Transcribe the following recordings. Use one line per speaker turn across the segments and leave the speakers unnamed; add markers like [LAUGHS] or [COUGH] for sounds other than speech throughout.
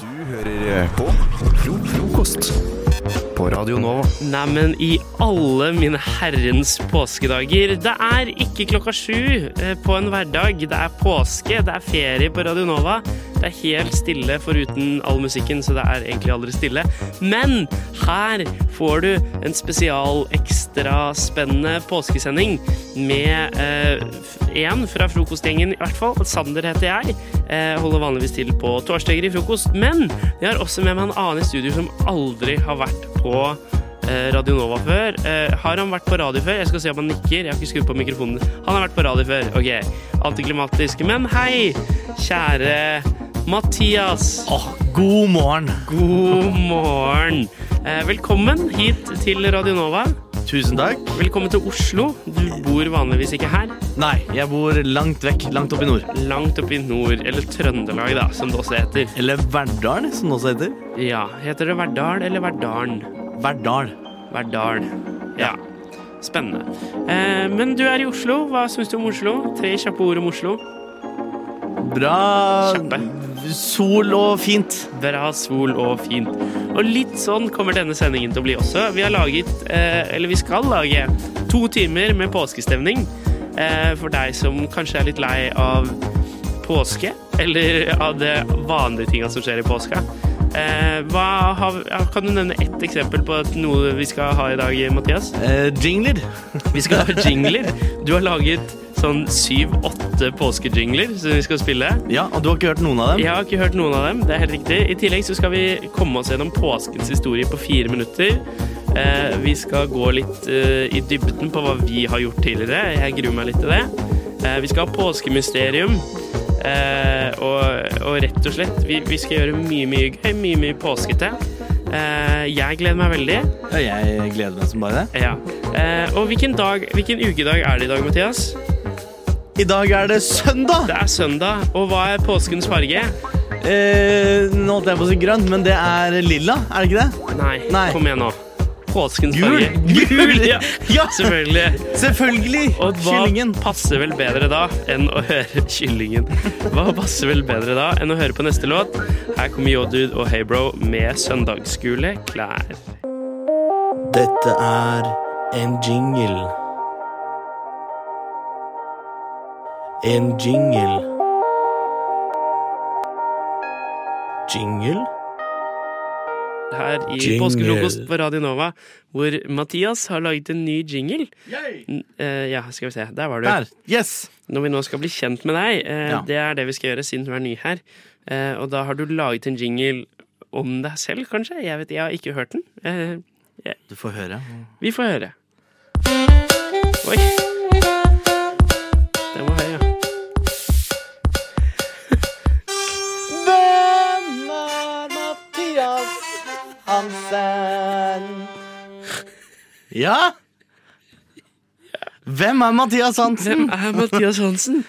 Du hører eh, på Fro frokost på Radio Nova.
Neimen, i alle mine herrens påskedager. Det er ikke klokka sju eh, på en hverdag. Det er påske, det er ferie på Radio Nova. Det er helt stille foruten all musikken, så det er egentlig aldri stille. Men her får du en spesial ekstra spennende påskesending med én fra frokostgjengen, i hvert fall. Sander heter jeg. Eh, holder vanligvis til på torsdager i frokost. Men jeg har også med meg en annen i studio som aldri har vært på eh, Radio Nova før. Eh, har han vært på radio før? Jeg skal se om han nikker. Jeg har ikke skrudd på mikrofonen. Han har vært på radio før. OK. Antiklimatisk. Men hei, kjære Mathias.
God morgen.
God morgen. Eh, velkommen hit til Radio Nova.
Tusen takk.
Velkommen til Oslo. Du bor vanligvis ikke her.
Nei, jeg bor langt vekk, langt opp i nord.
Langt oppe i nord, eller Trøndelag, da, som det også heter.
Eller Verdal, som det også heter.
Ja, Heter det Verdal eller Verdalen?
Verdal.
Verdal. Ja. Spennende. Eh, men du er i Oslo. Hva syns du om Oslo? Tre kjappe ord om Oslo.
Bra
Kjappe.
Sol og fint.
Bra sol og fint. Og litt sånn kommer denne sendingen til å bli også. Vi har laget, eh, eller vi skal lage, to timer med påskestemning. Eh, for deg som kanskje er litt lei av påske, eller av det vanlige tinga som skjer i påska. Eh, hva har, ja, kan du nevne ett eksempel på at noe vi skal ha i dag, Mathias?
Eh, jingler.
Vi skal ha jingler. Du har laget sånn syv-åtte påskejingler som vi skal spille.
Ja, og du har ikke hørt noen av dem?
Jeg har ikke hørt noen av dem. det er helt riktig. I tillegg så skal vi komme oss gjennom påskens historie på fire minutter. Eh, vi skal gå litt eh, i dybden på hva vi har gjort tidligere. Jeg gruer meg litt til det. Eh, vi skal ha påskemysterium. Eh, og, og rett og slett, vi, vi skal gjøre mye, mye gøy. Mye, mye påskete. Eh, jeg gleder meg veldig.
Jeg gleder meg som bare det.
Ja. Eh, og hvilken, dag, hvilken ukedag er det i dag, Mathias?
I dag er det søndag!
Det er søndag, og hva er påskens farge?
Eh, nå holdt jeg på å si grønt, men det er lilla, er det ikke det?
Nei,
Nei.
kom igjen nå. Påskens
Gul! [LAUGHS]
farge. Gul! Ja,
Ja,
selvfølgelig.
selvfølgelig!
Og hva
Kyllingen.
passer vel bedre da enn å høre [LAUGHS] Kyllingen? Hva passer vel bedre da enn å høre på neste låt? Her kommer Yo-Dude og Hey Bro med søndagsgule klær.
Dette er en jingle. En jingle. Jingle?
Her i
Jingle.
Påskefrokost på Radio Nova, hvor Mathias har laget en ny jingle. N- eh, ja, skal vi se. Der var du.
Der. Yes!
Når vi nå skal bli kjent med deg, eh,
Ja.
det er det vi skal gjøre siden du er ny her. Eh, og da har du laget en jingle om deg selv, kanskje? Jeg vet, jeg har ikke hørt den. Eh,
Du får høre.
vi får høre. Oi. Den var høy, ja.
Hvem er Mathias Hansen? Ja? Hvem er Mathias Hansen?
Hvem er Mathias Hansen?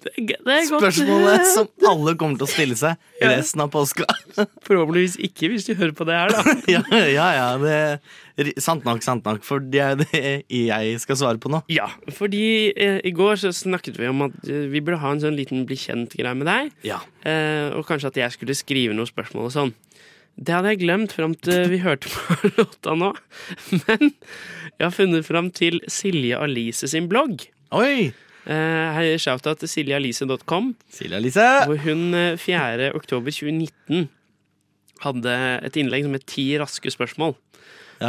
Det er, g- det er godt.
Spørsmålet som alle kommer til å stille seg
Ja.
resten av påska.
[LAUGHS] Forhåpentligvis ikke, hvis du hører på det her, da.
[LAUGHS] Ja, ja, ja det, ri- sant nok, sant nok, for det er det jeg skal svare på nå.
[LAUGHS] Ja, fordi eh, i går så snakket vi om at eh, vi burde ha en sånn liten bli kjent-greie med deg.
Ja.
Eh, og kanskje at jeg skulle skrive noen spørsmål og sånn. Det hadde jeg glemt fram til vi hørte på [LAUGHS] låta nå. Men jeg har funnet fram til Silje Alice sin blogg.
Oi!
Eh, her er Shoutout til siljealice.com,
Silja Lise.
hvor hun eh, 4. oktober 2019 hadde et innlegg som het 'Ti raske spørsmål'.
Ja.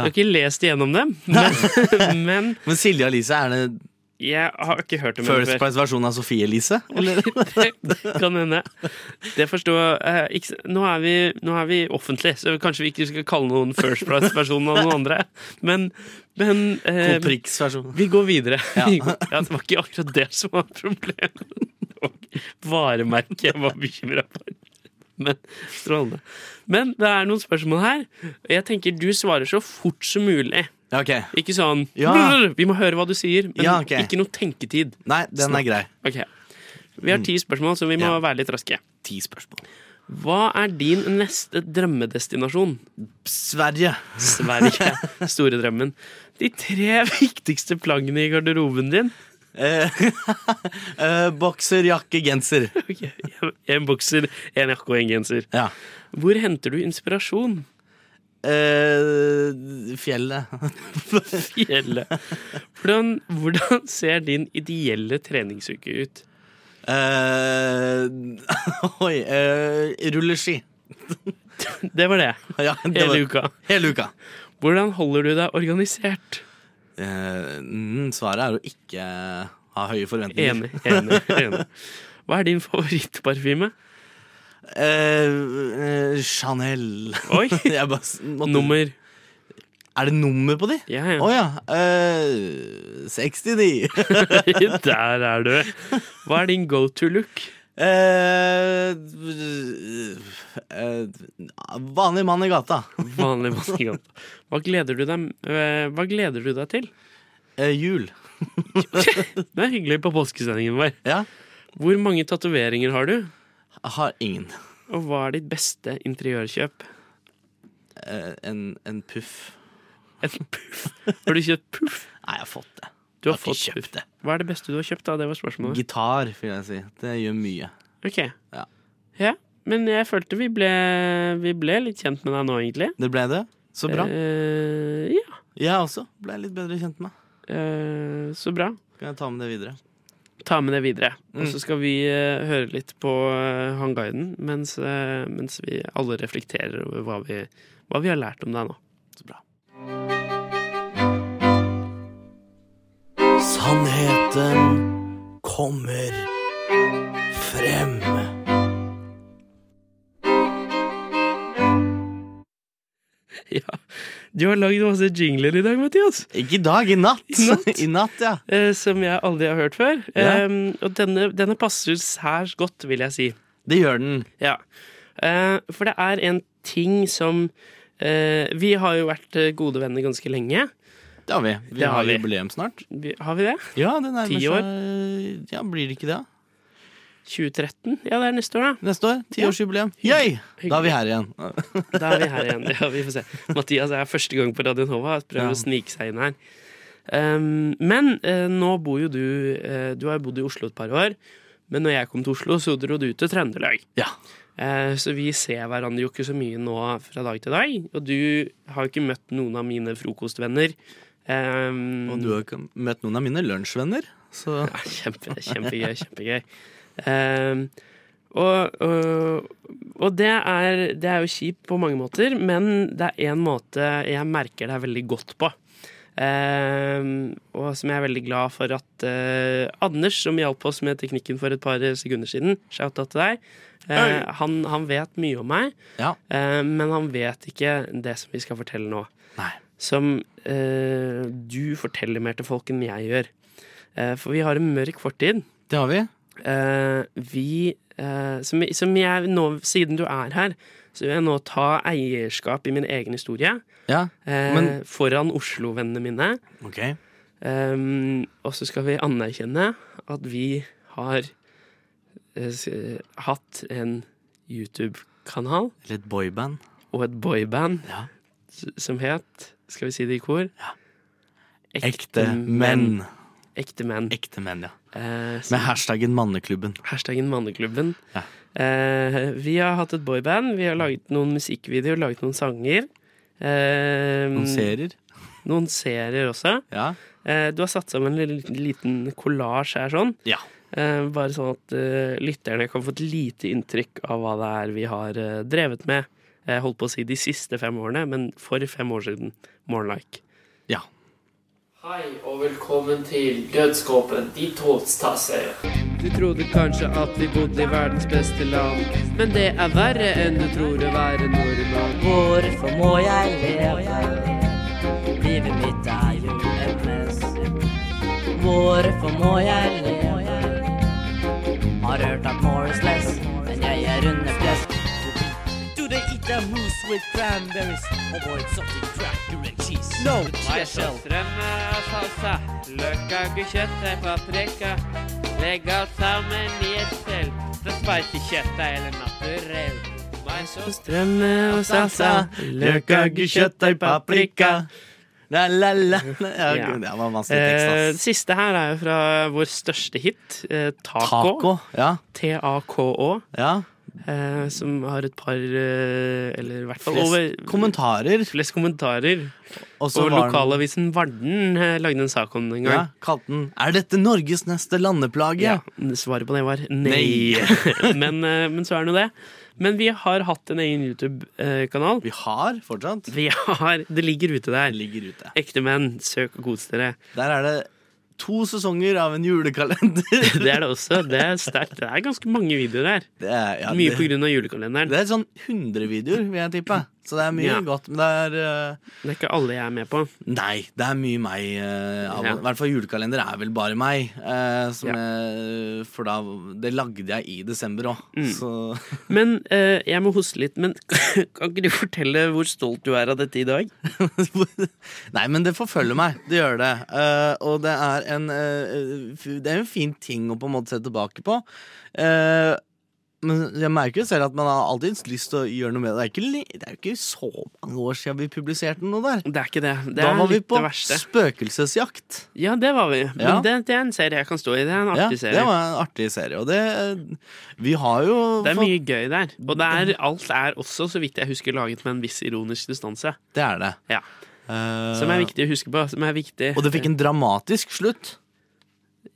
Jeg har ikke lest igjennom dem, men, men
Men Silja Lise, er det
jeg har ikke hørt om henne
First
før.
Price-versjonen av Sofie Elise? Eller?
Det [LAUGHS] kan hende. Det forstår eh, ikke, s- nå, er vi, nå er vi offentlig, så kanskje vi ikke skal kalle noen First Price-personer av noen andre. Men, men eh,
Prix-versjonen.
vi går videre.
Ja.
[LAUGHS] Vi går- Ja, det var ikke akkurat det som var problemet. Og varemerket jeg var bekymra for. Men strålende. Men det er noen spørsmål her. og Jeg tenker du svarer så fort som mulig.
Ja, ok.
Ikke sånn
Ja.
Vi må høre hva du sier, men
Ja, ok.
ikke noe tenketid.
Nei, den er grei.
Ok. Vi har ti spørsmål, så vi må
Mm. Ja.
være litt raske.
Ti spørsmål.
Hva er din neste drømmedestinasjon?
Sverige.
Sverige. [LAUGHS] Store drømmen. De tre [LAUGHS] viktigste plaggene i garderoben din.
[LAUGHS] Eh, eh, bokser, jakke, genser.
Ok, ja. En bukser, en jakke og en genser.
Ja.
Hvor henter du inspirasjon?
Eh, fjellet.
Fjellet. Hvordan, hvordan ser din ideelle treningsuke ut?
Eh, [LAUGHS] oi. eh, rulleski. [LAUGHS]
Det var det.
Ja, det var-
Hele uka.
Hele uka.
Hvordan holder du deg organisert?
Eh, mm, svaret er å ikke ha høye forventninger.
Enig, enig,
[LAUGHS]
enig. Hva er din favorittparfyme?
Eh, eh, Chanel. [LAUGHS]
Oi.
Jeg bare s- måtte-
Nummer.
Er det nummer på de? Å
Ja, ja.
ja. Eh, 69.
[LAUGHS] Der er du. Hva er din go to look?
Eh, eh, vanlig mann i gata.
Vanlig mannegang. Hva gleder du deg, eh, hva gleder du deg til?
Eh, jul.
Det er hyggelig på påskesendingen vår.
Ja.
Hvor mange tatoveringer har du?
Har ingen.
Og hva er ditt beste interiørkjøp?
Eh, en, en puff.
En puff. Har du kjøpt puff?
Nei, jeg har fått det.
Du har
Jeg har
fått
ikke
puff.
kjøpt det.
Hva er det beste du har kjøpt? da? Det var spørsmålet.
Gitar, vil jeg si. Det gjør mye.
Ok.
Ja.
Ja, Men jeg følte vi ble, vi ble litt kjent med deg nå, egentlig.
Det ble det. Så bra.
Eh, ja.
Jeg også ble litt bedre kjent med.
Eh, så bra.
Kan jeg ta med det videre?
Ta med det videre.
Mm.
Og så skal vi eh, høre litt på eh, han guiden mens, eh, mens vi alle reflekterer over hva vi, hva vi har lært om deg nå.
Så bra. Sannheten kommer frem.
[LAUGHS] Ja. Du har lagd masse jingler i dag, Mathias.
Ikke i dag, i natt.
I natt?
[LAUGHS] I natt ja.
eh, Som jeg aldri har hørt før.
Ja.
Eh, og denne, denne passer særs godt, vil jeg si.
Det gjør den.
Ja. Eh, for det er en ting som eh, Vi har jo vært eh, gode venner ganske lenge.
Det har vi. Vi
Det har
har,
vi.
jubileum snart.
Vi- Har vi det?
Ja, det nærmer
Ti år?
seg Ja, Blir det ikke det? da?
2013? Ja, det er neste år,
Neste år? Tiårsjubileum. Yay! Da er vi her igjen.
da. Da er vi her igjen. Ja, vi får se. Mathias er første gang på Radio Nova. og Prøver
Ja.
å snike seg inn her. Um, men eh, nå bor jo du eh, Du har jo bodd i Oslo et par år. Men når jeg kom til Oslo, så dro du til Trøndelag.
Ja.
Eh, Så vi ser hverandre jo ikke så mye nå fra dag til dag. Og du har jo ikke møtt noen av mine frokostvenner. Um,
Og du har ikke møtt noen av mine lunsjvenner, så
Ja, kjempe, [LAUGHS] kjempegøy, kjempegøy. Ehm, og, og, og det er, det er jo kjipt på mange måter, men det er én måte jeg merker det er veldig godt på. Ehm, og som jeg er veldig glad for at eh, Anders, som hjalp oss med teknikken for et par sekunder siden, shout-out til deg, eh, han, han vet mye om meg,
Ja.
eh, men han vet ikke det som vi skal fortelle nå
Nei.
som eh, du forteller mer til folk enn jeg gjør. Eh, for vi har en mørk fortid.
Det har vi.
Eh, vi eh, som, som jeg nå, siden du er her, så vil jeg nå ta eierskap i min egen historie.
Ja.
eh,
Men-
foran Oslo-vennene mine.
Ok.
Um, og så skal vi anerkjenne at vi har eh, s- eh, hatt en YouTube-kanal
Litt boyband.
og et boyband
Ja.
s- som het Skal vi si det i kor?
Ekte menn.
Ekte menn.
Ekte menn, ja.
Eh, så-
Med hashtaggen Manneklubben.
Hashtaggen Manneklubben.
Ja.
Eh, vi har hatt et boyband. Vi har laget noen musikkvideoer, laget noen sanger. Eh,
Noen serier.
noen serier også.
Ja.
Eh, du har satt sammen en liten- liten kollasj her sånn.
ja.
Eh, bare sånn at eh, lytterne kan få et lite inntrykk av hva det er vi har eh, drevet med. Jeg holdt på å si de siste fem årene, men for fem år siden. Morgenlike.
Ja.
Hei og velkommen til Dødskåpen, ditt hovedstadsøy. Du trodde kanskje at vi bodde i verdens beste land, men det er verre enn du tror å være nordmann.
Hvorfor må jeg leve? Livet mitt er jo en mess. Hvorfor må jeg leve? Har hørt at more is less, men jeg er under press. Do they eat a mousse with cranberries? Avoid something cracker and cheese. No, special.
Strømmer og salsa, løk, agurk, kjøttdeig, paprika. Legg alt sammen i et selv. Det spicy kjøttdeig eller naturell. Mais og strømme og salsa, løk, agurk, kjøttdeig, paprika.
La, la, la. Ja,
Ja.
gud, det var vanskelig
Eh, det
tekst, ass.
siste her er jo fra vår største hit, eh, Taco.
Taco. Ja.
T-A-K-Å.
ja.
Eh, som har et par, eh, eller i hvert fall over
Flest kommentarer.
flest kommentarer.
Og så
Og
var den-
lokalavisen Varden eh, lagde en sak om det en
Ja,
gang.
kalte den 'Er dette Norges neste landeplage?'
Ja. Svaret på det var nei. [LAUGHS] men, eh, men så er nå det. Men vi har hatt en egen YouTube-kanal.
Vi har fortsatt.
Vi har, Det ligger ute der.
Den ligger ute.
Ekte menn, søk og kos dere.
Der er det to sesonger av en julekalender.
[LAUGHS] Det er det også. Det er sterkt. Det er ganske mange videoer der.
Det er, ja,
Mye
det-
på grunn av julekalenderen.
Det er sånn 100 videoer, vil jeg tippe. Så det er mye
Ja.
godt. Men det er eh,
Det er ikke alle jeg er med på.
Nei, det er mye meg. eh, av,
Ja.
I hvert fall julekalender er vel bare meg. eh, som
Ja.
jeg, for da Det lagde jeg i desember òg.
Mm.
Så
Men eh, jeg må hoste litt. Men [LAUGHS] kan ikke du fortelle hvor stolt du er av dette i dag?
[LAUGHS] Nei, men det forfølger meg. Det gjør det. Eh, og det er en eh, f- Det er en fin ting å på en måte se tilbake på. Eh, men jeg merker jo selv at man har alltid lyst til å gjøre noe med det. Det er, ikke, li- det er jo ikke så mange år siden vi publiserte noe der.
Det er ikke det. Det
da
er
var vi
litt
på
det verste.
spøkelsesjakt.
Ja, det var vi.
Ja.
Men det, det er en serie jeg kan stå i. Det er en
Ja,
artig
det
serie.
var en artig serie. Og det eh, Vi har jo
Det er
fått-
mye gøy der. Og det er, alt er også, så vidt jeg husker, laget med en viss ironisk distanse.
Det er det.
Ja.
Eh,
Som er viktig å huske på. Som er viktig.
Og det fikk en dramatisk slutt.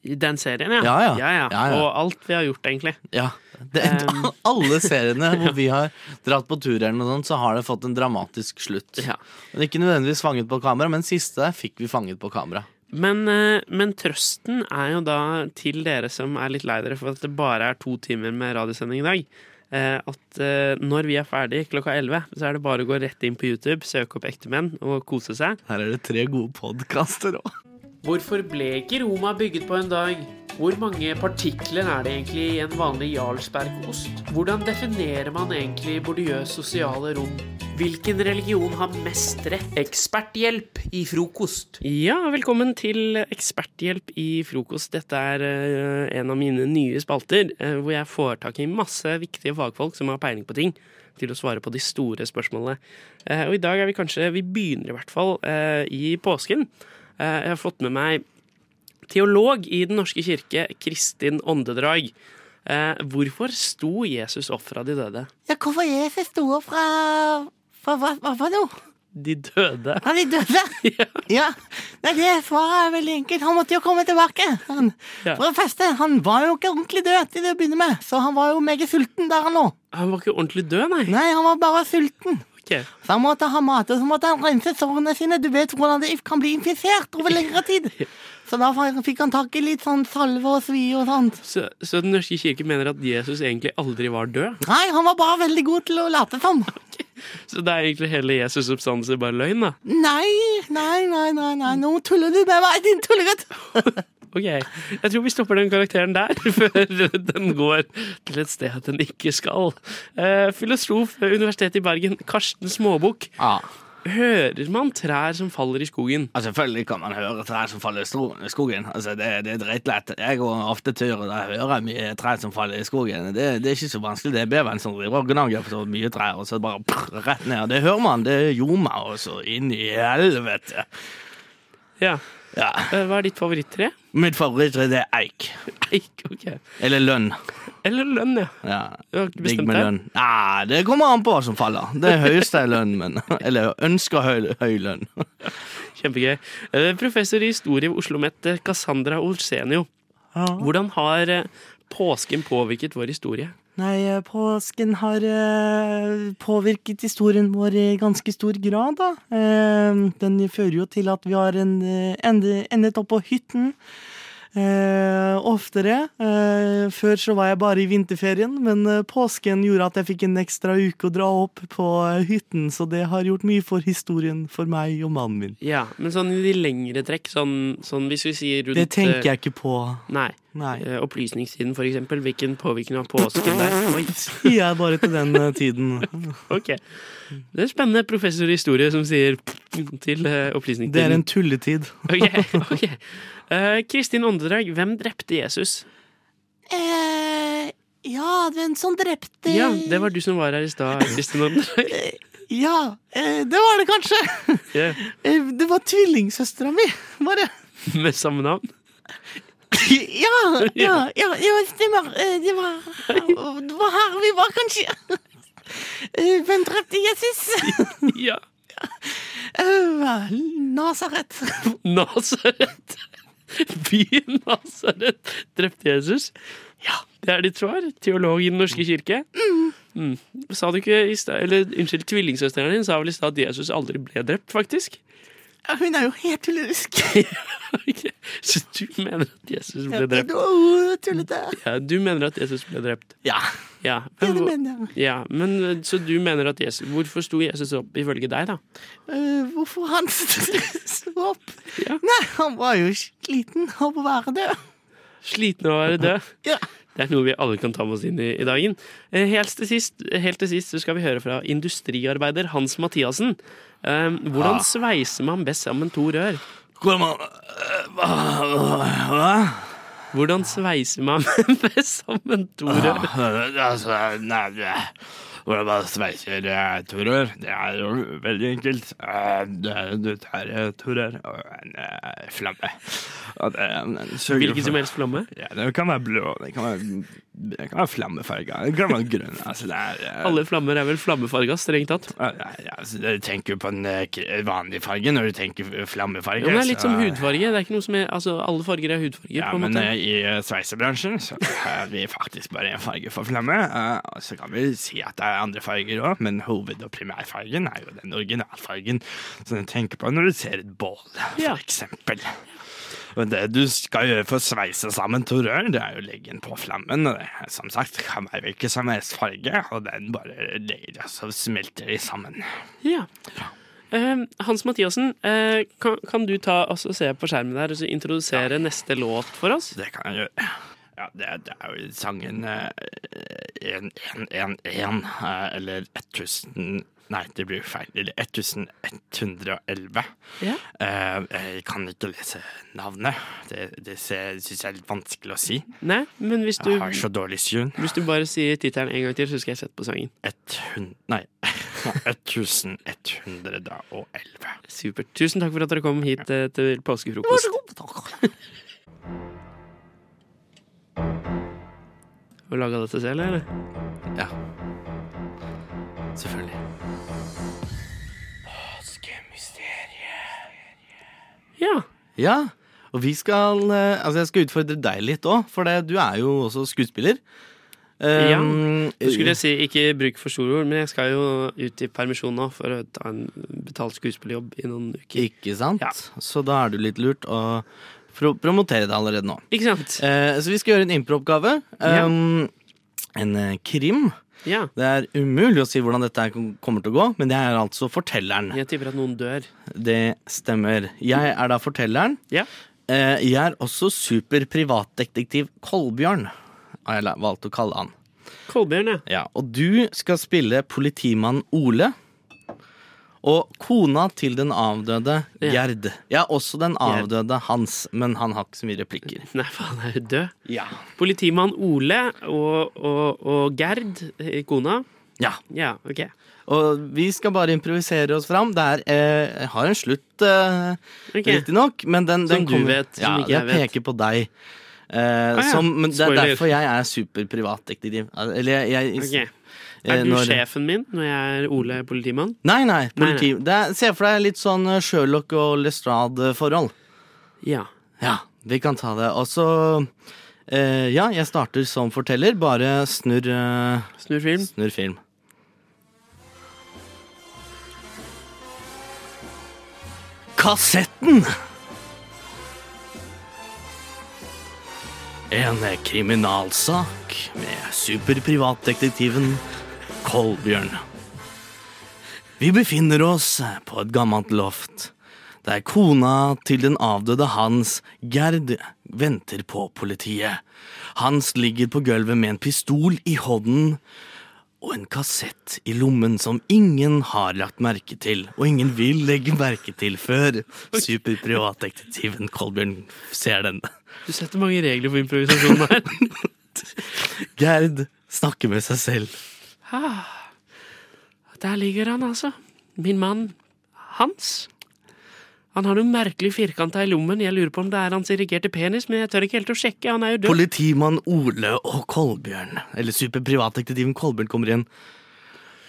I Den serien, ja.
Ja, ja.
Ja, ja.
Ja, ja.
Og alt vi har gjort, egentlig.
Ja. Det,
Um.
[LAUGHS] alle
[LAUGHS]
seriene hvor vi har dratt på tur, eller noe sånt, så har det fått en dramatisk slutt.
Ja.
Men Ikke nødvendigvis fanget på kamera, men siste der fikk vi fanget på kamera.
Men, eh, men trøsten er jo da til dere som er litt lei dere for at det bare er to timer med radiosending i dag. eh, At eh, når vi er ferdig klokka 11, så er det bare å gå rett inn på YouTube, søke opp Ektemenn og kose seg.
Her er det tre gode podkaster òg.
Hvorfor ble ikke Roma bygget på en dag? Hvor mange partikler er det egentlig i en vanlig Jarlsbergost? Hvordan definerer man egentlig bordiøs sosiale rom? Hvilken religion har mest rett? Eksperthjelp i frokost. Ja, velkommen til Eksperthjelp i frokost. Dette er eh, en av mine nye spalter, eh, hvor jeg får tak i masse viktige fagfolk som har peiling på ting, til å svare på de store spørsmålene. Eh, Og i dag er vi kanskje Vi begynner i hvert fall eh, i påsken. Eh, Jeg har fått med meg teolog i Den norske kirke, Kristin Åndedrag. Eh, Hvorfor sto Jesus opp fra de døde?
Ja, hvorfor Jesus sto opp fra fra hva, hva for noe?
De døde?
Fra de døde?
[LAUGHS] Ja.
Ja. Nei, det svaret er veldig enkelt. Han måtte jo komme tilbake. Han,
Ja.
For det første, han var jo ikke ordentlig død til å begynne med, så han var jo meget sulten der han lå.
Han var ikke ordentlig død, nei.
Nei, han var bare sulten.
Ok.
Så han måtte ha mat, og så måtte han rense sårene sine. Du vet hvordan det kan bli infisert over lengre tid. Så da fikk han tak i litt sånn salve og svi og sånt.
Så, så Den norske kirke mener at Jesus egentlig aldri var død?
Nei, han var bare veldig god til å late som.
Så det er egentlig hele Jesus' oppstandelse bare løgn, da?
Nei, nei, nei, nei, nei. nå tuller du med meg, din tullegutt.
Ok, Jeg tror vi stopper den karakteren der, [LAUGHS] før den går til et sted den ikke skal. Eh, filosof ved Universitetet i Bergen, Karsten Småbukk.
Ja.
Hører man trær som faller i skogen?
Altså, selvfølgelig kan man høre trær som faller i stro- i skogen. Altså, det, det er dritlett. Jeg går ofte tur, og da hører jeg mye trær som faller i skogen. Det, det er ikke så vanskelig. Det er beveren som driver og gnager på så mye trær, og så bare prr, rett ned. Det hører man. Det ljomer også inn i helvete.
Ja.
Ja.
Eh, Hva er ditt favoritttre?
Mitt favoritttre det er eik.
Eik, ok.
Eller lønn.
Eller lønn, ja.
Ja.
Du har ikke
Digg
bestemt
med
deg?
lønn. Nei, det kommer an på hva som faller. Det høyeste er lønn, men [LAUGHS] Eller ønsker høy, høy lønn.
Kjempegøy. Eh, Professor i historie ved Oslo Met, eh, Cassandra Olsenio. Hvordan har eh, påsken påvirket vår historie?
[LAUGHS] Nei, eh, påsken har eh, påvirket historien vår i ganske stor grad, da. Eh, den fører jo til at vi har en, eh, ende, endet opp på hytten eh, oftere. Eh, før så var jeg bare i vinterferien, men eh, påsken gjorde at jeg fikk en ekstra uke å dra opp på eh, hytten, så det har gjort mye for historien for meg og mannen min.
Ja, Men sånn i de lengre trekk, sånn, sånn hvis vi sier rundt eh,
Det tenker jeg ikke på.
Nei.
Nei. [LAUGHS]
Eh, Opplysningstiden, for eksempel. Hvilken påvirkning har påsken der?
[LAUGHS]
Oi,
Sier jeg bare til den eh, tiden.
ok. Det er spennende professor i historie som sier til eh, opplysningstiden.
Det er en tulletid.
Ok, ok. Eh, Kristin Åndedrag, hvem drepte Jesus?
Eh, ja, hvem som drepte sånn
Ja, det var du som var her i stad, Kristin Åndedrag.
Ja, eh, det var det kanskje. [LAUGHS]
Ja,
Eh, Det var tvillingsøstera mi, bare.
Med samme navn.
Ja, ja, ja, ja stemmer. Eh, Det var, det var her vi var, kanskje. Eh, Hvem drepte Jesus?
Ja.
Eh, Nasaret.
Nasaret. Byen Nasaret drepte Jesus. Ja, det er ditt svar. Teolog i Den norske kirke. Mm. Sa du ikke i stad Eller unnskyld, tvillingsøsteren din sa vel i stad at Jesus aldri ble drept, faktisk? [LAUGHS]
Ja, Hun er jo helt tullerisk.
Ok, Så du mener at Jesus ble drept?
Oh, tullete.
Ja, du mener at Jesus ble drept?
Ja.
Ja,
Ja, men,
det
hvor-
mener jeg.
ja, men eh, Så du mener at Jesus Hvorfor sto Jesus opp ifølge deg, da?
Eh, hvorfor han [LAUGHS] sto opp?
Ja.
Nei, han var jo sliten av å være død.
Sliten av å være død?
Ja.
Det er noe vi alle kan ta med oss inn i, i dagen. Eh, Helt til sist, helt til sist så skal vi høre fra industriarbeider Hans Mathiassen. Eh,
Ah.
hvordan sveiser man best sammen to rør?
Hvor man øh, hva, Eh, hva?
Hvordan sveiser man [LAUGHS] best sammen to rør?
Øh, Altså, nei det- Hvordan man sveiser eh, to rør? Det er jo veldig enkelt. Eh, det- Du tar eh, to rør og en eh, flamme. Og det, eh, sørger
Hvilken som
for-
helst flamme?
Ja, det kan være blå, det kan være, det kan være flammefarga, det kan være grønn. Altså, det er eh,
Alle flammer er vel flammefarga, strengt tatt.
Ja, ja, altså, du tenker jo på en eh, k- vanlig farge når du tenker f- flammefarge.
Jo, men det er litt
så-
som hudfarge. Det er ikke noe som er, altså, alle farger er hudfarger.
Ja,
på en
men
måte.
eh, i eh, sveisebransjen så er vi faktisk bare en farge for flamme. eh, og så kan vi si at det er andre farger òg, men hoved- og primærfargen er jo den originalfargen som du tenker på når du ser et bål,
Ja.
for eksempel. Og det du skal gjøre for å sveise sammen to rør, det er jo å legge den på flammen. Og det som sagt kan være hvilken som helst farge, og den bare legger og så smelter de sammen.
Ja. Eh, Hans Mathiassen, eh, kan, kan du ta og så se på skjermen der og så introdusere neste låt for oss?
Det kan jeg gjøre. Ja, det, det er jo sangen eh, 1111, eh, eller 1000 Nei, det blir jo feil. Eller 1111.
Ja.
Eh, Jeg kan ikke lese navnet. Det, det syns jeg er litt vanskelig å si.
Nei, men hvis du
Jeg har så dårlig syn.
Hvis du bare sier tittelen en gang til, så skal jeg sette på sangen.
100 Nei, [LAUGHS] 1111.
Supert. Tusen takk for at dere kom hit eh, til påskefrokost. Og laga dette selv, eller?
Ja. Selvfølgelig.
Ja.
Ja, og vi skal eh, Altså, jeg skal utfordre deg litt òg, for det, du er jo også skuespiller.
Ja,
Um,
Så skulle jeg si ikke bruk for store ord, men jeg skal jo ut i permisjon nå for å ta en betalt skuespillerjobb i noen uker.
Ikke sant?
Ja.
Så da er det litt lurt å pro promotere det allerede nå.
Ikke sant?
Eh, så vi skal gjøre en improoppgave.
Ja.
Um, En eh, krim.
Ja.
Det er umulig å si hvordan dette her kom- kommer til å gå, men det er altså fortelleren.
Jeg tipper at noen dør.
Det stemmer. Jeg er da fortelleren.
Ja.
Eh, jeg er også superprivatdetektiv Kolbjørn, har jeg la- valgt å kalle han.
Kolbjørn, ja.
Ja, og du skal spille politimann Ole. Og kona til den avdøde
Ja.
Gjerd. Ja, også den avdøde Hans, men han har ikke så mye replikker.
Nei, faen, er hun død?
Ja.
Politimann Ole og, og, og Gerd, eh, kona.
ja.
Ja, OK.
Og vi skal bare improvisere oss fram. Det er, eh, jeg har en slutt, eh,
Ok.
riktignok, men den,
Som
den
du vet, som
ja,
ikke jeg vet. Ah,
peker på deg. Eh,
ja.
som, men det er
Spoiler.
derfor jeg er superprivatdetektiv. Eller jeg, jeg
Ok.
eh,
Er du
når-
sjefen min når jeg er Ole politimann?
Nei, nei.
Nei,
politi. Det er, se for deg litt sånn eh, Sherlock og Lestrade-forhold.
Ja.
Ja, vi kan ta det. Og så eh, Ja, jeg starter som forteller. Bare snurr eh,
Snur film.
Snurr film. Kassetten! En kriminalsak med superprivatdetektiven Kolbjørn. Vi befinner oss på et gammelt loft, der kona til den avdøde Hans, Gerd, venter på politiet. Hans ligger på gulvet med en pistol i hånden og en kassett i lommen som ingen har lagt merke til, og ingen vil legge merke til før superprivatdetektiven Kolbjørn ser den.
Du setter mange regler for improvisasjon her.
Gerd snakker med seg selv.
[LAUGHS] Der ligger han, altså. min mann Hans. Han har noe merkelig firkanta i lommen. Jeg lurer på om det er hans irrigerte penis, men jeg tør ikke helt å sjekke. Han er jo død.
Politimann Ole og Kolbjørn, eller superprivatdetektiven Kolbjørn, kommer inn.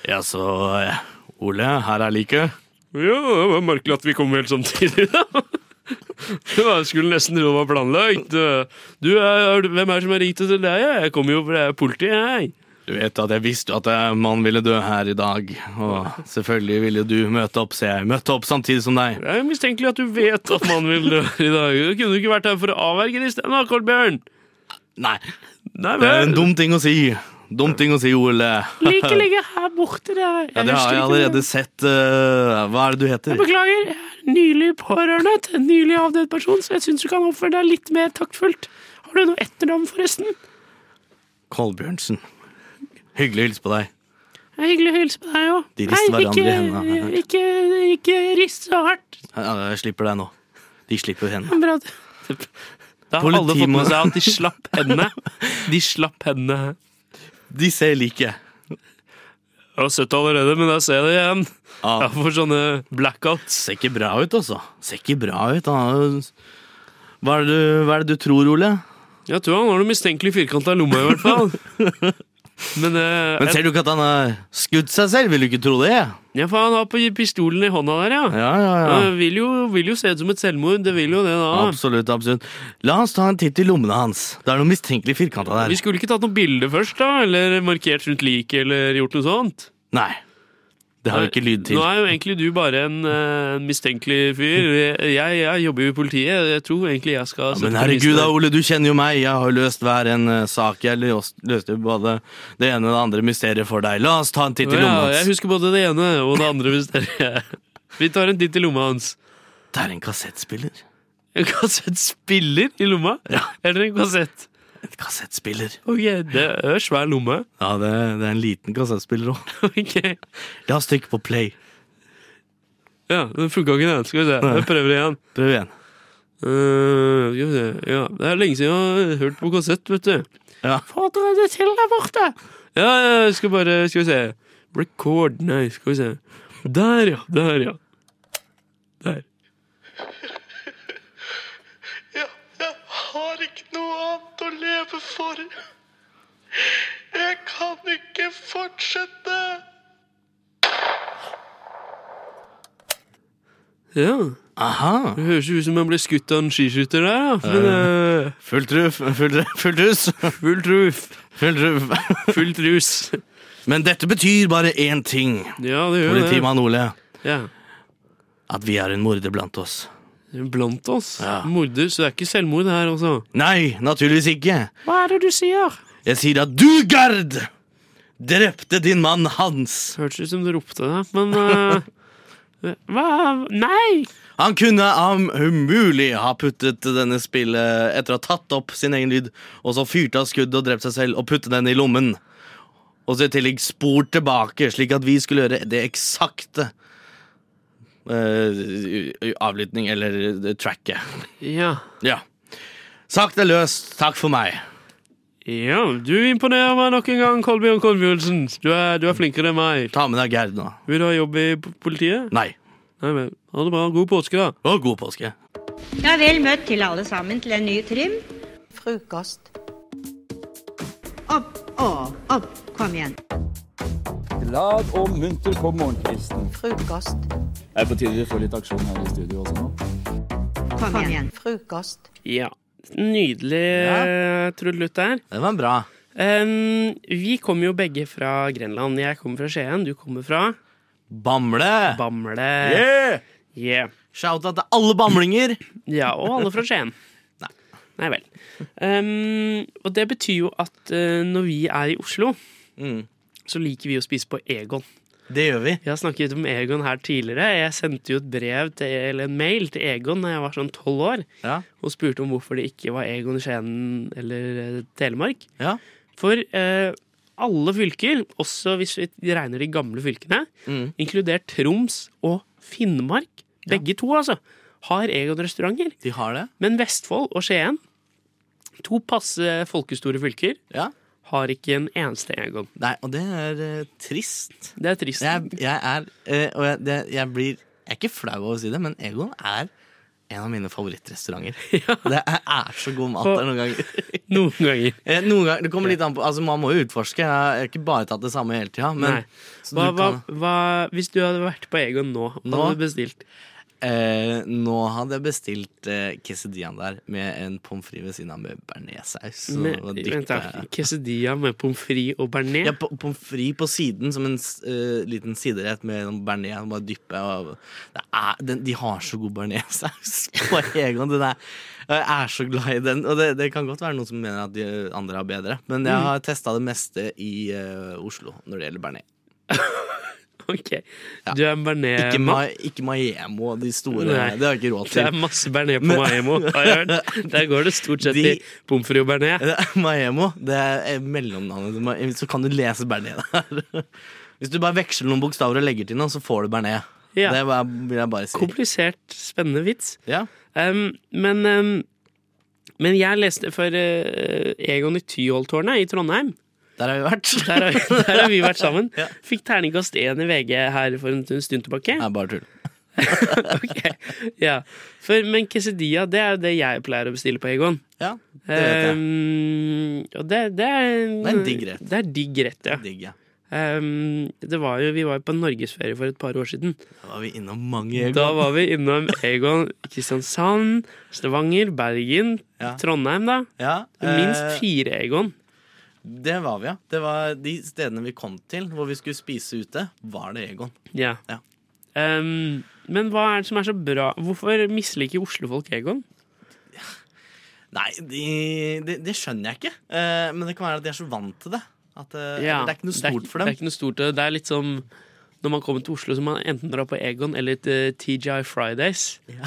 Ja, så eh, Ole, her er liket.
Ja, det var merkelig at vi kom helt samtidig, da. [LAUGHS] Det var- skulle nesten tro det var planlagt. Du, er- er- hvem er det som har ringt til deg? Jeg kommer jo fra politiet, jeg.
Du vet at jeg visste at eh, man ville dø her i dag, og selvfølgelig ville du møte opp, så jeg møtte opp samtidig som deg.
Det er jo mistenkelig at du vet at man vil dø i dag. Du kunne du ikke vært her for å avverge det isteden, da, Kolbjørn?
Nei,
Nei
det er
vel.
en dum ting å si. Dum ting å si, Ole.
Like ligge her borte, det er
[LAUGHS] Ja, det har jeg allerede sett. eh, hva er det du heter?
Beklager, jeg er nylig pårørende til en nylig avdød person, så jeg syns du kan oppføre deg litt mer taktfullt. Har du noe etternavn, forresten?
Kolbjørnsen. Hyggelig å hilse på deg.
Det er hyggelig å hilse på deg òg.
De rister hverandre i hendene, har jeg hørt.
Ikke, ikke, ikke rist så hardt.
Ja, Jeg slipper deg nå. De slipper henne.
Bra. Da har alle fått med
Politimann-
seg at de slapp henne. De slapp henne.
De ser like.
Jeg har sett det allerede, men jeg ser det igjen.
Ja.
Jeg får sånne blackouts.
Ser ikke bra ut, altså. Ser ikke bra ut. Han har jo- Hva er, det du, hva er det du tror, Ole?
Jeg tror han har noe mistenkelig firkanta lomme, i hvert fall.
[LAUGHS]
Men, eh,
Men ser du ikke at han har skutt seg selv? Vil du ikke tro det?
ja, for han har på pistolen i hånda der, ja.
Ja, ja, ja.
Det vil jo, vil jo se ut som et selvmord. Det vil jo det, da.
Absolutt, absolutt. La oss ta en titt i lommene hans. Det er noe mistenkelig firkanta
Vi
der.
skulle ikke tatt noe bilde først, da? Eller markert rundt liket, eller gjort noe sånt?
Nei. Det har vi ikke lyd til.
Nå er jo egentlig du bare en eh, mistenkelig fyr. Jeg, jeg jobber jo i politiet. Jeg tror egentlig jeg skal
Men
sette
herregud
listen.
da, Ole, du kjenner jo meg. Jeg har løst hver en eh, sak. Jeg løs- løste jo både det ene og det andre mysteriet for deg. La oss ta en titt i
Å
lommene
Ja, jeg
hans.
husker både det ene og det andre mysteriet. [LAUGHS] Vi tar en titt i lomma hans.
Det er en kassettspiller.
En kassettspiller i lomma?
Ja.
Eller en kassett?
En kassettspiller.
Ok, det er svær lomme. [LAUGHS]
Ja, det, det er en liten kassettspiller òg.
Ok.
La oss trykke på play.
Ja, den funka ikke, den. Skal vi se. Jeg prøver igjen.
Prøv igjen.
Eh, skal vi se. Ja, det er lenge siden jeg har hørt på kassett, vet du.
Ja.
Få dere det til der borte! Ja, ja, jeg skal bare Skal vi se. Record. Nei, skal vi se. Der, ja. Der, ja. Der.
Ja, jeg har ikke noe annet å leve for. Jeg kan ikke fortsette.
Ja.
Aha.
Det høres jo ut som han ble skutt av en skiskytter der, da. Men, eh,
Full truff, full, truff, full truss.
full truff.
Full truff.
Full trus.
Men dette betyr bare én ting,
Ja, det gjør det.
politimann Ole.
Ja.
At vi har en morder blant oss.
Blant oss.
Ja.
Morder, så det er ikke selvmord her, altså.
Nei, naturligvis ikke.
Hva er det du sier?
Jeg sier at du, Gerd, drepte din mann Hans.
Hørtes ut som du ropte det, men [LAUGHS] eh, Hva? Nei!
Han kunne am- umulig ha puttet denne spillet etter å ha tatt opp sin egen lyd, og så fyrt av skuddet og drept seg selv og puttet den i lommen. Og så i tillegg spor tilbake, slik at vi skulle gjøre det eksakte eh, avlytting, eller eh, tracket.
Ja.
Ja. Sagt er løst. Takk for meg.
ja, du imponerer meg nok en gang, Kolbjørn Kolbjørnsen. Du er, du er flinkere enn meg.
Ta med deg Gerd nå.
Vil du ha jobb i p- politiet?
Nei.
Nei vel. Ha det bra. God påske, da.
Og god påske.
Ja, vel møtt til alle sammen til en ny trim.
Frukost.
Opp, å, opp, kom igjen.
Glad og munter på morgenkvisten.
Frokost.
Det er på tide vi får litt aksjon her i studio også nå.
Kom, igjen.
Frokost.
Ja. Nydelig ja. trudelutt der.
Den var bra.
Em, vi kommer jo begge fra Grenland. Jeg kommer fra Skien, du kommer fra
Bamble!
Bamble.
Yeah!
Yeah.
Shout-out til alle bamlinger.
Ja, og alle fra Skien. [LAUGHS] Nei vel. Em, og det betyr jo at eh, når vi er i Oslo,
Mm.
så liker vi å spise på Egon.
Det gjør vi.
Vi har snakket om Egon her tidligere. Jeg sendte jo et brev til, eller en mail til Egon da jeg var sånn tolv år,
Ja.
og spurte om hvorfor det ikke var Egon i Skien eller eh, Telemark.
Ja.
For eh, alle fylker, også hvis vi regner de gamle fylkene,
Mm.
inkludert Troms og Finnmark, begge to altså, har Egon-restauranter.
De har det.
Men Vestfold og Skien, to passe folkestore fylker,
Ja.
har ikke en eneste Egon.
Nei, og det er eh, trist.
Det er trist.
Jeg, jeg er eh, Og jeg, det, jeg blir Jeg er ikke flau over å si det, men Egon er en av mine
[LAUGHS]
favorittrestauranter. Det er, er så god mat der noen ganger.
Noen ganger.
Eh, Noen ganger, det kommer litt an på Altså Man må jo utforske. Jeg har ikke bare tatt det samme hele tida. Men
Nei.
så du
Hva, hva,
kan-
hva, hvis du hadde vært på Egon nå, hva
Nå?
hadde du bestilt?
Eh, nå hadde jeg bestilt eh, quesadillaen der med en pommes frites ved siden av med bearnéssaus. så det var dypt,
Vent, da.
eh.
Quesadilla med pommes frites og bearnés?
Ja, po- pommes frites på siden som en s- eh, liten siderett med noen bearnés. Bare dyppe og det er, den, De har så god [LAUGHS] bearnéssaus på Egon. Den er, jeg er så glad i den. Og det, det kan godt være noen som mener at de andre har bedre, men jeg
Mm.
har testa det meste i eh, Oslo når det gjelder bearnés.
[LAUGHS] Ok. Du er en bearnés
Ikke, Ma, ikke Maiemo og de store.
Eh, Nei.
Det har jeg ikke råd
Det er
[LAUGHS] til.
masse bearnés på
Men-
Maemo. har jeg
[LAUGHS]
hørt. Der går det stort sett
De-
i pommes frites og bearnés.
Maiemo, Eh, det er eh, mellomnavnet til Maemo. Så kan du lese bearnés der. [LAUGHS] Hvis du bare veksler noen bokstaver og legger til noe, så får du bearnés.
Ja.
Det bare- vil jeg bare si.
Komplisert, spennende vits.
Ja.
Um, men, um, men jeg leste for uh, Egon i Tyholttårnet i Trondheim.
Der har vi vært.
Der
[LAUGHS]
har, der har vi [LAUGHS] vært sammen.
Ja.
Fikk terningkast én i VG her for en, en stund tilbake.
Nei, bare tull.
[LAUGHS] Ok, ja. for, men quesadilla, det er jo det jeg pleier å bestille på Egon.
Ja, det vet jeg.
Um, og det, det er
Det er en digg rett.
Det er digg rett, ja.
Digg, ja.
Um, det var jo, vi var jo på norgesferie for et par år siden.
Da var vi innom mange Egon.
Da var vi innom Egon Kristiansand, Stavanger, Bergen,
Ja.
Trondheim, da.
ja,
Minst
eh,
fire Egon.
Det var vi, ja. Det var de stedene vi kom til hvor vi skulle spise ute, var det Egon.
Ja.
Ja.
Um, men hva er det som er så bra? Hvorfor misliker oslofolk Egon?
Nei, de, de, det skjønner jeg ikke. Eh, men det kan være at de er så vant til det. At, eh,
Ja,
Det er ikke noe stort for
Det
dem.
er ikke noe stort det. Det er litt som når man kommer til Oslo, så må man enten dra på Egon eller til TGI Fridays.
[LAUGHS]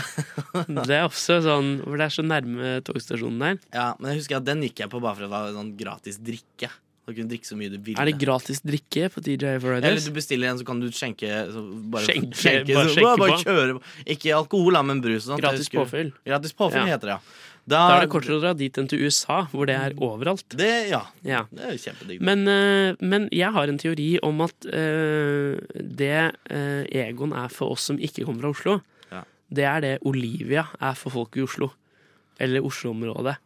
det er også sånn, for det er så nærme togstasjonen der.
Ja, men jeg husker at den gikk jeg på bare for at det var sånn gratis drikke. Du kunne drikke så mye du ville.
Er det gratis drikke på TGI
Eller
Fridays?
du bestiller en, så kan du skjenke. Så bare, [LAUGHS]
Skjenke,
bare,
bare
så,
skjenke
bare
på.
kjøre på. Ikke alkohol, da, men brus. og sånt. Jeg
Gratis
husker-
påfyll.
Gratis påfyll
Ja.
heter det, ja.
Da er det kortere å dra dit enn til USA, hvor det er overalt.
Det, ja.
Ja.
Det er jo kjempedigg.
Men, eh, men jeg har en teori om at eh, det eh, Egon er for oss som ikke kommer fra Oslo,
Ja.
det er det Olivia er for folk i Oslo. Eller Oslo-området.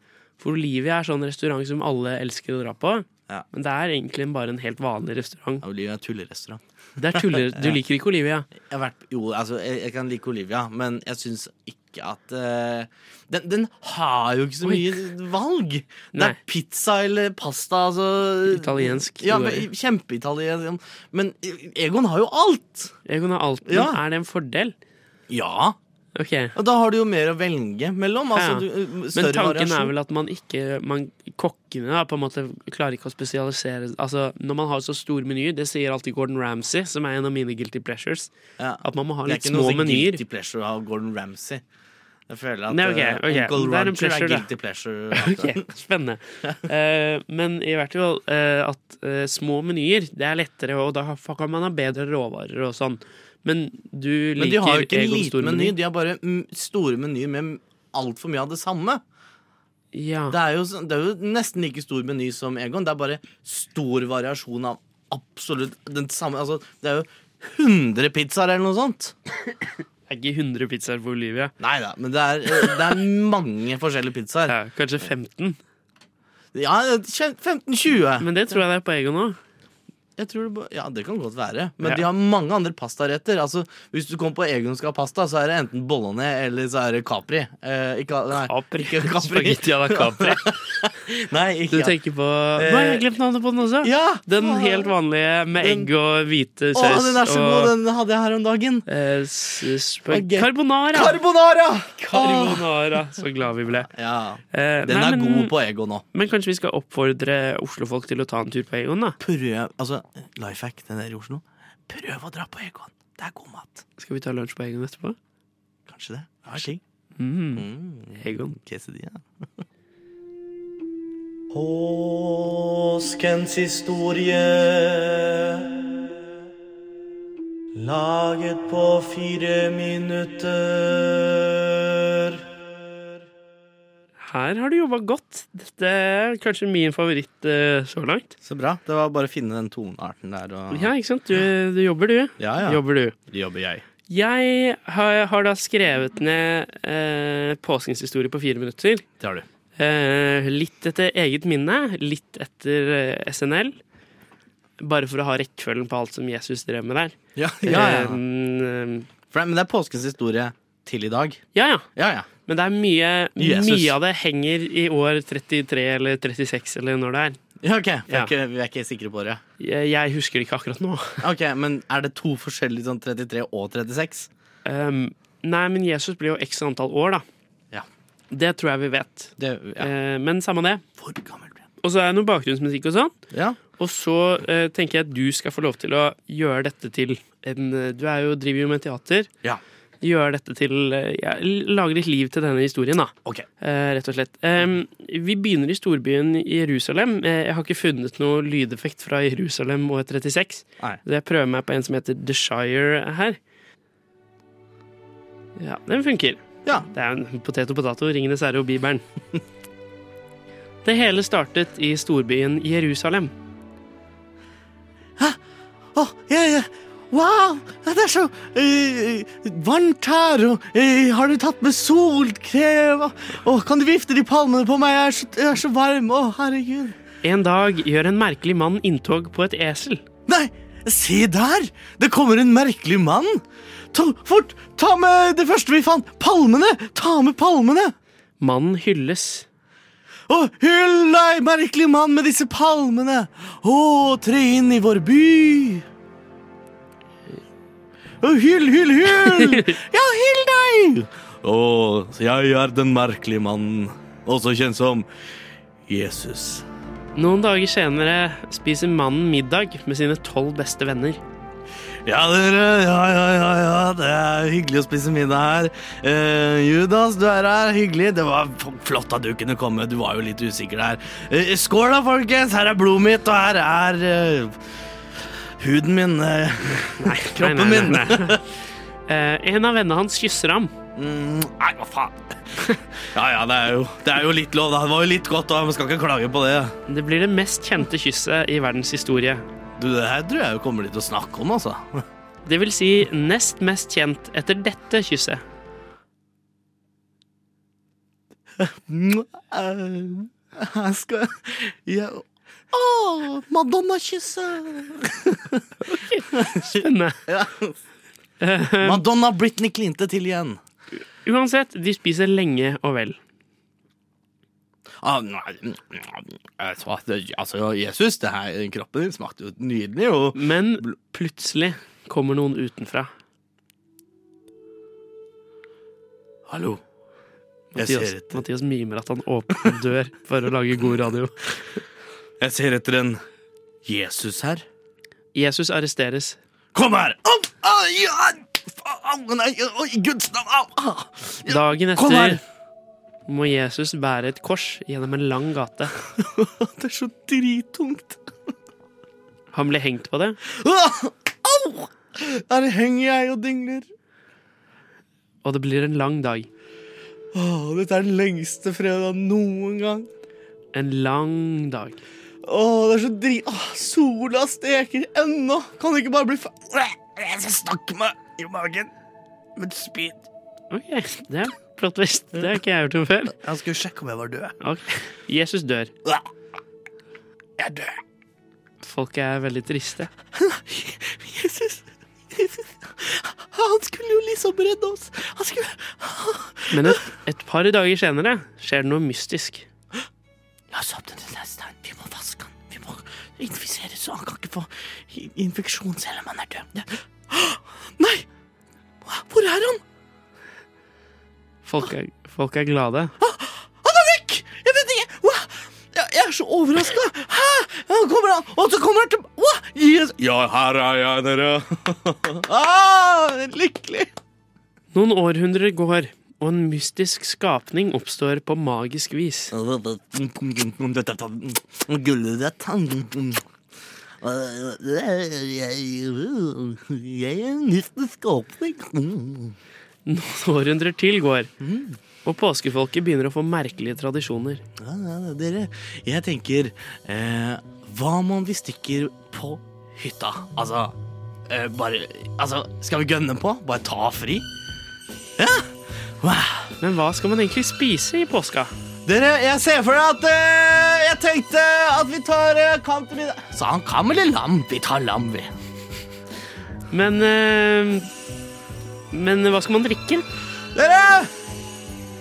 For Olivia er sånn restaurant som alle elsker å dra på.
Ja.
Men det er egentlig bare en helt vanlig restaurant.
[LAUGHS] Ja, Olivia er en tullerestaurant.
Det er tuller, Du liker ikke Olivia?
Jeg, har vært, jo, altså, jeg, jeg kan like Olivia, men jeg syns ikke at eh, den, den har jo ikke så
Oi.
mye valg! Det
Nei.
er pizza eller pasta, altså
Italiensk,
Ja,
det
men Kjempeitaliensk. Men Egon har jo alt!
Egon har alt, men
Ja.
er det en fordel?
Ja!
Ok,
Og da har du jo mer å velge mellom. Altså,
Ja.
du,
Men
større
tanken
variasjon.
er vel at man ikke man, Kokkene da, på en måte klarer ikke å spesialisere Altså Når man har så stor meny, det sier alltid Gordon Ramsay, som er en av mine guilty pleasures,
Ja.
at man må ha
Det er
litt
ikke
små
noe sånn
menyer. [LAUGHS]
guilty pleasure av Gordon Ramsay. Jeg føler at
Nei, ok,
eh,
ok.
Uncle
Det er en
Roger er,
pleasure, da.
guilty
[LAUGHS]
pleasure. altså.
Ok, Spennende. Eh, men i hvert fall eh, at eh, små menyer, det er lettere, og da kan man ha bedre råvarer og sånn. Men du liker
Men de har jo ikke en
Egons store
liten meny, de har bare mm, store menyer med altfor mye av det samme.
Ja.
Det er, jo, sånn- det er jo nesten like stor meny som Egon. Det er bare stor variasjon av absolutt den samme altså, Det er jo 100 pizzaer eller noe sånt.
Det er ikke 100 pizzaer for Olivia.
Nei da, men det er, eh, det er mange forskjellige pizzaer.
Ja, kanskje 15.
Ja, 15-20.
Men det tror jeg det er på Egon òg.
Jeg tror det, ba- ja, det kan godt være. Men
Ja.
de har mange andre pastaretter. Altså, hvis du kommer på Egon og skal ha pasta, så er det enten bolognese eller så er det capri. Eh, ikke, nei,
Capri.
Ikke
[LAUGHS]
capri.
Spagetti à la Capri.
[LAUGHS] Nei,
Du
ikke
tenker på Nå har jeg glemt navnet på den også!
Ja!
Den
Åh.
helt vanlige med
Den-
egg og hvite
Å,
saus.
den er så god! Den hadde jeg her om dagen.
eh, s- sp-
Og ge-
Carbonara!
Carbonara!
Carbonara! Så glad vi ble.
Ja,
Eh,
Den
nei,
er
men,
god på Egon nå.
Men kanskje vi skal oppfordre Oslofolk til å ta en tur på Egon, da?
Prøv Altså, life hack, den der i Oslo. Prøv å dra på Egon. Det er god mat.
Skal vi ta lunsj på Egon etterpå?
Kanskje det. Ja, skikk.
Mm. Egon.
Quesadilla. Påskens historie Laget på fire minutter
her har du jobba godt. Dette er kanskje min favoritt eh, så langt.
Så bra. Det var bare å finne den tonearten der. Og...
Ja, ikke sant? Du, du jobber, du.
ja, ja.
Jobber du.
Jobber jeg.
Jeg har, har da skrevet ned eh, påskens historie på fire minutter.
Det har du.
Eh, litt etter eget minne, litt etter eh, SNL. Bare for å ha rekkefølgen på alt som Jesus drev med der.
Ja, ja, ja.
Eh, mm,
For det, men det er påskens historie til i dag.
ja, ja.
Ja, ja.
Men det er mye,
Jesus.
mye av det henger i år 33 eller 36 eller når det er.
ja ok. Vi er,
Ja.
Ikke, vi er ikke sikre på det.
Jeg, jeg husker det ikke akkurat nå.
Ok, Men er det to forskjellige sånn 33 og 36?
Um, nei, men Jesus blir jo x antall år, da.
Ja.
Det tror jeg vi vet.
Det, ja.
Eh, men samme det.
Hvor gammel ble han?
Og så er det noe bakgrunnsmusikk og sånn.
Ja.
Og så eh, tenker jeg at du skal få lov til å gjøre dette til en eh, Du er jo, driver jo med teater.
Ja.
Gjør dette til eh, ja, Lage litt liv til denne historien, da.
Ok.
Eh, rett og slett. Em, vi begynner i storbyen Jerusalem. Eh, jeg har ikke funnet noe lydeffekt fra Jerusalem og 36.
Nei.
Så jeg prøver meg på en som heter The Shire her. Ja, den funker.
Ja.
Det er en potet og potato, Ringenes herre og Bibelen. Det hele startet i storbyen Jerusalem.
Å, ja, ja. Wow, det er så eh, varmt her, og eh, har du tatt med solkrem? Å, kan du vifte de palmene på meg? Jeg er så, jeg er så varm. Å, herregud.
En dag gjør en merkelig mann inntog på et esel.
Nei, se der! Det kommer en merkelig mann. Ta, fort, ta med det første vi fant. Palmene! Ta med palmene!
Mannen hylles.
Å, hyll deg, merkelig mann, med disse palmene! Å, tre inn i vår by! Å, hyll, hyll, hyll! Ja, hyll deg! Å, så jeg er den merkelige mannen, også kjent som Jesus.
Noen dager senere spiser mannen middag med sine tolv beste venner.
Ja, dere. Ja, ja, ja, ja. Det er hyggelig å spise middag her. Eh, Judas, du er her. Hyggelig. Det var f- flott at du kunne komme. Du var jo litt usikker der. Eh, skål da, folkens. Her er blodet mitt, og her er eh, huden min. eh, [LAUGHS] kroppen
Nei, nei,
min.
nei, nei. [LAUGHS] Eh, en av vennene hans kysser ham.
Mm, nei, hva faen. [LAUGHS] Ja, ja, det er, jo, det er jo litt lov, da. Det var jo litt godt, da. Man skal ikke klage på det.
Det blir det mest kjente kysset i verdens historie.
Du, det her tror jeg jo kommer de til å snakke om, altså.
Det vil si nest mest kjent etter dette
[LAUGHS]
kysset.
Eh, Jeg skal ja. Å, Madonna-kysset!
Spennende.
Madonna Britney klinte til igjen.
Uansett, de spiser lenge og vel.
Ah, nei, mm, jeg sa at det- altså, Jesus, det her, kroppen din smakte jo nydelig. Og
Men plutselig kommer noen utenfra.
Hallo. Jeg ser
Mathias,
etter,
Mathias mimer at han åpner en dør for å lage god radio.
jeg ser etter en Jesus her.
Jesus arresteres.
Kom her! Au! Au! ja, fa- au, nei, oi, i Guds navn! Au! ah.
Dagen
Kom her!
etter må Jesus bære et kors gjennom en lang gate.
[LAUGHS] Det er så drittungt.
Han ble hengt på det.
Ah, Au! Her henger jeg og dingler.
og det blir en lang dag.
Åh, dette er den lengste fredagen noen gang.
En lang dag.
Åh, det er så dri... Åh, sola steker ennå. Kan det ikke bare bli fa... Jeg skal snakke meg i magen. Men spyd.
Ok, det er flott visst. Det har ikke jeg gjort om før.
Jeg skulle sjekke om jeg var død.
Ok. Jesus dør.
Jeg er død. [LAUGHS]
Folk er veldig triste.
Jesus. Jesus. Han skulle jo liksom redde oss. Han skulle...
Men et, et par dager senere skjer det noe mystisk.
La oss åpne den steinen. Vi må vaske han. Vi må infisere så han kan ikke få i- infeksjon selv om han er død. Nei! Hvor er han?
Folk er, folk er glade.
Han er vekk! Jeg vet ikke Hva? Jeg, jeg er så overraska. Hæ? Ja, kommer han, og så kommer han tilbake. Yes. Ja, her er jeg, dere. [LAUGHS] ah, lykkelig.
Noen århundrer går, og en mystisk skapning oppstår på magisk vis.
Gulrøtt. Jeg er en mystisk åpning. Mm.
Noen århundrer til går, Og påskefolket begynner å få merkelige tradisjoner.
Ja, ja, ja, dere, jeg tenker eh, Hva om vi stikker på hytta? Altså, eh, bare Altså, skal vi gønne på? Bare ta fri? Ja! Wow.
Men hva skal man egentlig spise i påska?
Dere, jeg ser for deg at eh, Jeg tenkte at vi tar eh, kampen i dag. Sa han kam eller lam? Vi tar lam, vi.
Men eh, Men hva skal man drikke?
Dere!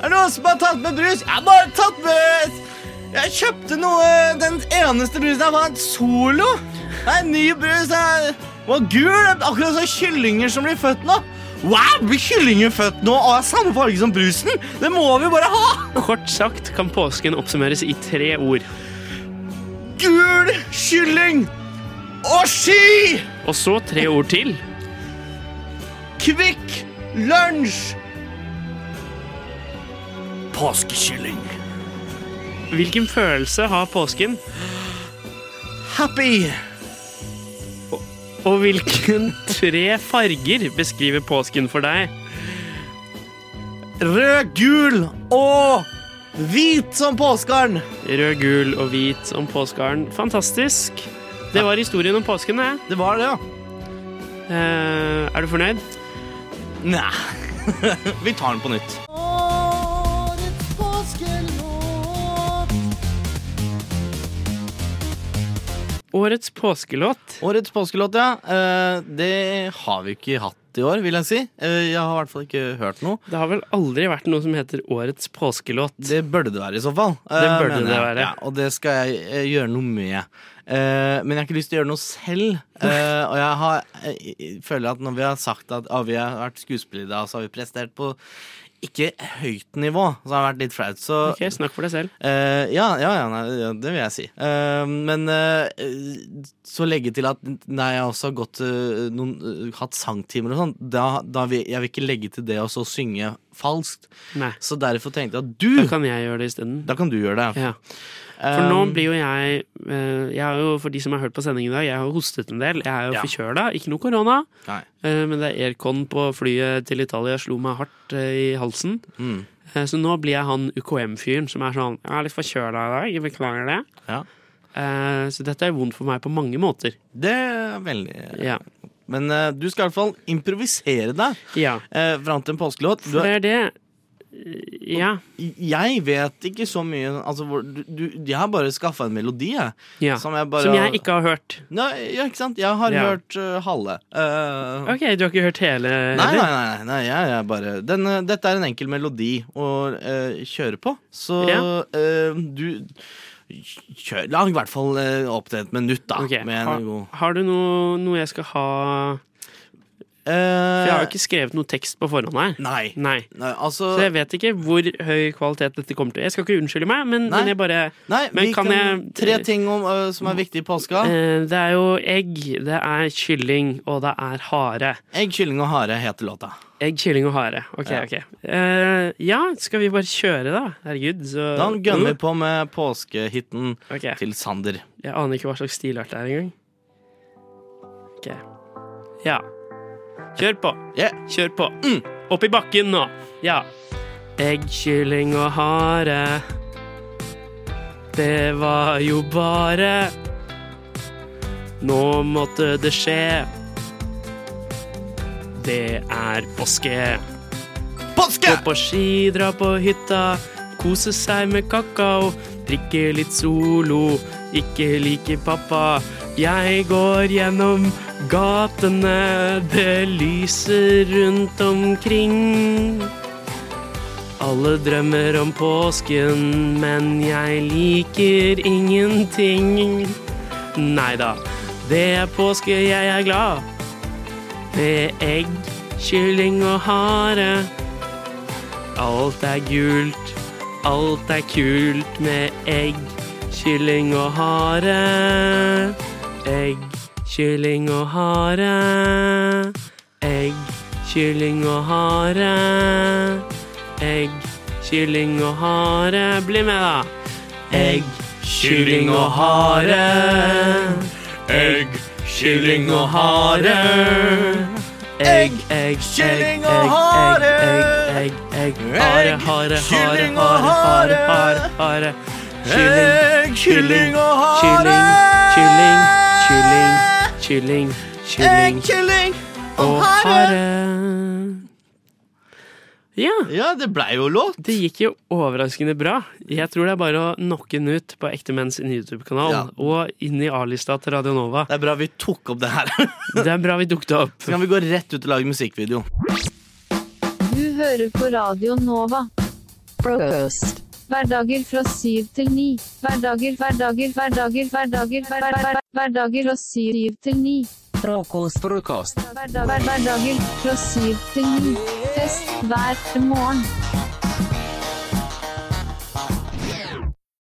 Er det noen som har tatt med brus? Jeg har bare tatt med Jeg kjøpte noe Den eneste brusen her var en Solo. Det er en ny brus. Den var gul. Akkurat som kyllinger som blir født nå. Wow! Blir kyllinger født nå og har samme farge som brusen? Det må vi bare ha!
Kort sagt kan påsken oppsummeres i tre ord.
Gul kylling og ski!
Og så tre ord til.
Kvikk lunsj! Påskekylling.
Hvilken følelse har påsken,
Happy.
og hvilken [LAUGHS] tre farger beskriver påsken for deg?
Rød, gul og hvit som påskeren.
Rød, gul og hvit om påskeharen. Fantastisk. Det var historien om påsken. det.
Det var det, ja.
Eh, er du fornøyd?
Nei. [LAUGHS] Vi tar den på nytt.
Årets påskelåt.
Årets påskelåt, ja. Eh, Det har vi ikke hatt i år, vil jeg si. Eh, Jeg har i hvert fall ikke hørt noe.
Det har vel aldri vært noe som heter Årets påskelåt.
Det burde det være i så fall. eh,
Det burde
mener jeg.
det være.
Ja, og det skal jeg eh, gjøre noe med. Eh, men jeg har ikke lyst til å gjøre noe selv. Eh, og jeg har, eh, jeg føler at når vi har sagt at ah, vi har vært skuespillere i dag, så har vi prestert på ikke høyt nivå, så har det vært litt flaut. Så
Ok, Snakk for deg selv.
Eh, ja, ja, ja, nei, ja, det vil jeg si. Eh, men eh, så legge til at nei, jeg har også har gått eh, noen, eh, hatt sangtimer og sånn. Da, da vil jeg vil ikke legge til det og så synge falskt.
Nei.
Så derfor tenkte jeg at
Da
[CLEARS THROAT] du
kan jeg gjøre det isteden.
Da kan du gjøre det.
Ja. For nå
Eh,
blir jo jeg eh, Jeg har jo, For de som har hørt på sendingen i dag, jeg har jo hostet en del. Jeg er jo
Ja.
forkjøla. Ikke noe korona,
Nei.
eh, men det er aircon på flyet til Italia slo meg hardt eh, i halsen.
Mm.
Eh, Så nå blir jeg han UKM-fyren som er sånn Jeg er litt forkjøla i dag, jeg beklager det.
Ja.
Eh, Så dette er vondt for meg på mange måter.
Det er veldig
Ja.
Men eh, du skal i hvert fall improvisere deg
ja.
uh, fram til en påskelåt. Du
For
er,
det er det Ja.
jeg vet ikke så mye altså, hvor, du, du, Jeg har bare skaffa en melodi, jeg.
ja.
Som jeg bare
Som
har-
jeg ikke har hørt.
Nei, ja, ikke sant? Jeg har
Ja.
hørt eh, halve. Eh,
Ok, du har ikke hørt hele?
nei, nei,
heller?
nei, nei, nei jeg, jeg bare den, eh, Dette er en enkel melodi å eh, kjøre på, så
Ja.
eh, du kjør, La i hvert fall eh, opp til et minutt, da.
Ok,
Med
har-
en god
Har du noe, noe jeg skal ha For jeg har jo ikke skrevet noe tekst på forhånd her.
Eh. Nei.
Nei.
Nei, altså
Så jeg vet ikke hvor høy kvalitet dette kommer til. Jeg skal ikke unnskylde meg, men,
Nei.
men jeg bare
Nei,
men
vi
kan
kan,
jeg-
Tre ting om, eh, som er viktig i påska.
eh, Det er jo egg, det er kylling, og det er hare.
Egg, kylling og hare heter låta.
Egg, kylling og hare. Ok,
Ja.
ok. Eh, ja, skal vi bare kjøre, da? Herregud, så
Da
Uh.
gønner vi på med påskehiten
Ok,
til Sander.
Jeg aner ikke hva slags stilart det er engang. Ok. Ja. Kjør på.
Ja.
Kjør på. Mm, Opp i bakken nå. Ja. Egg, kylling og hare. Det var jo bare Nå måtte det skje. Det er påske.
Påske!
Gå på ski, dra på hytta, kose seg med kakao, drikke litt solo, ikke like pappa. Jeg går gjennom gatene, det lyser rundt omkring. Alle drømmer om påsken, men jeg liker ingenting. Nei da, det er påske, jeg er glad. Med egg, kylling og hare. Alt er gult, alt er kult med egg, kylling og hare. Egg, kylling og hare. Egg, kylling og hare. Egg, kylling og hare. Bli med, da. Egg, kylling og hare. Egg, kylling og hare. egg, egg,
kylling
egg,
og
egg,
hare.
Egg, egg, egg, egg, hare,
Egg,
hare, hare,
kylling og
hare, hare,
hare.
hare, hare. Kylling,
Egg, kylling og hare.
Kylling, kylling, kylling, kylling, kylling
Kylling
og hare. Ja,
Ja, det blei jo låt.
det gikk jo overraskende bra. Jeg tror det er bare å knocke den ut på Ekte menns YouTube-kanal
Ja.
og inn i A-lista til Radio Nova.
Det er bra vi tok opp det her. [LAUGHS]
Det er bra vi dukket opp.
Så kan vi gå rett ut og lage musikkvideo.
Du hører på Radio Nova. Frokost. Hverdager fra syv til ni. Hverdager, hverdager, hverdager, hverdager, hver- hver- hver- hverdager og syv til ni. Frokost, frokost. Hverdager fra syv til ni. Fest hver morgen.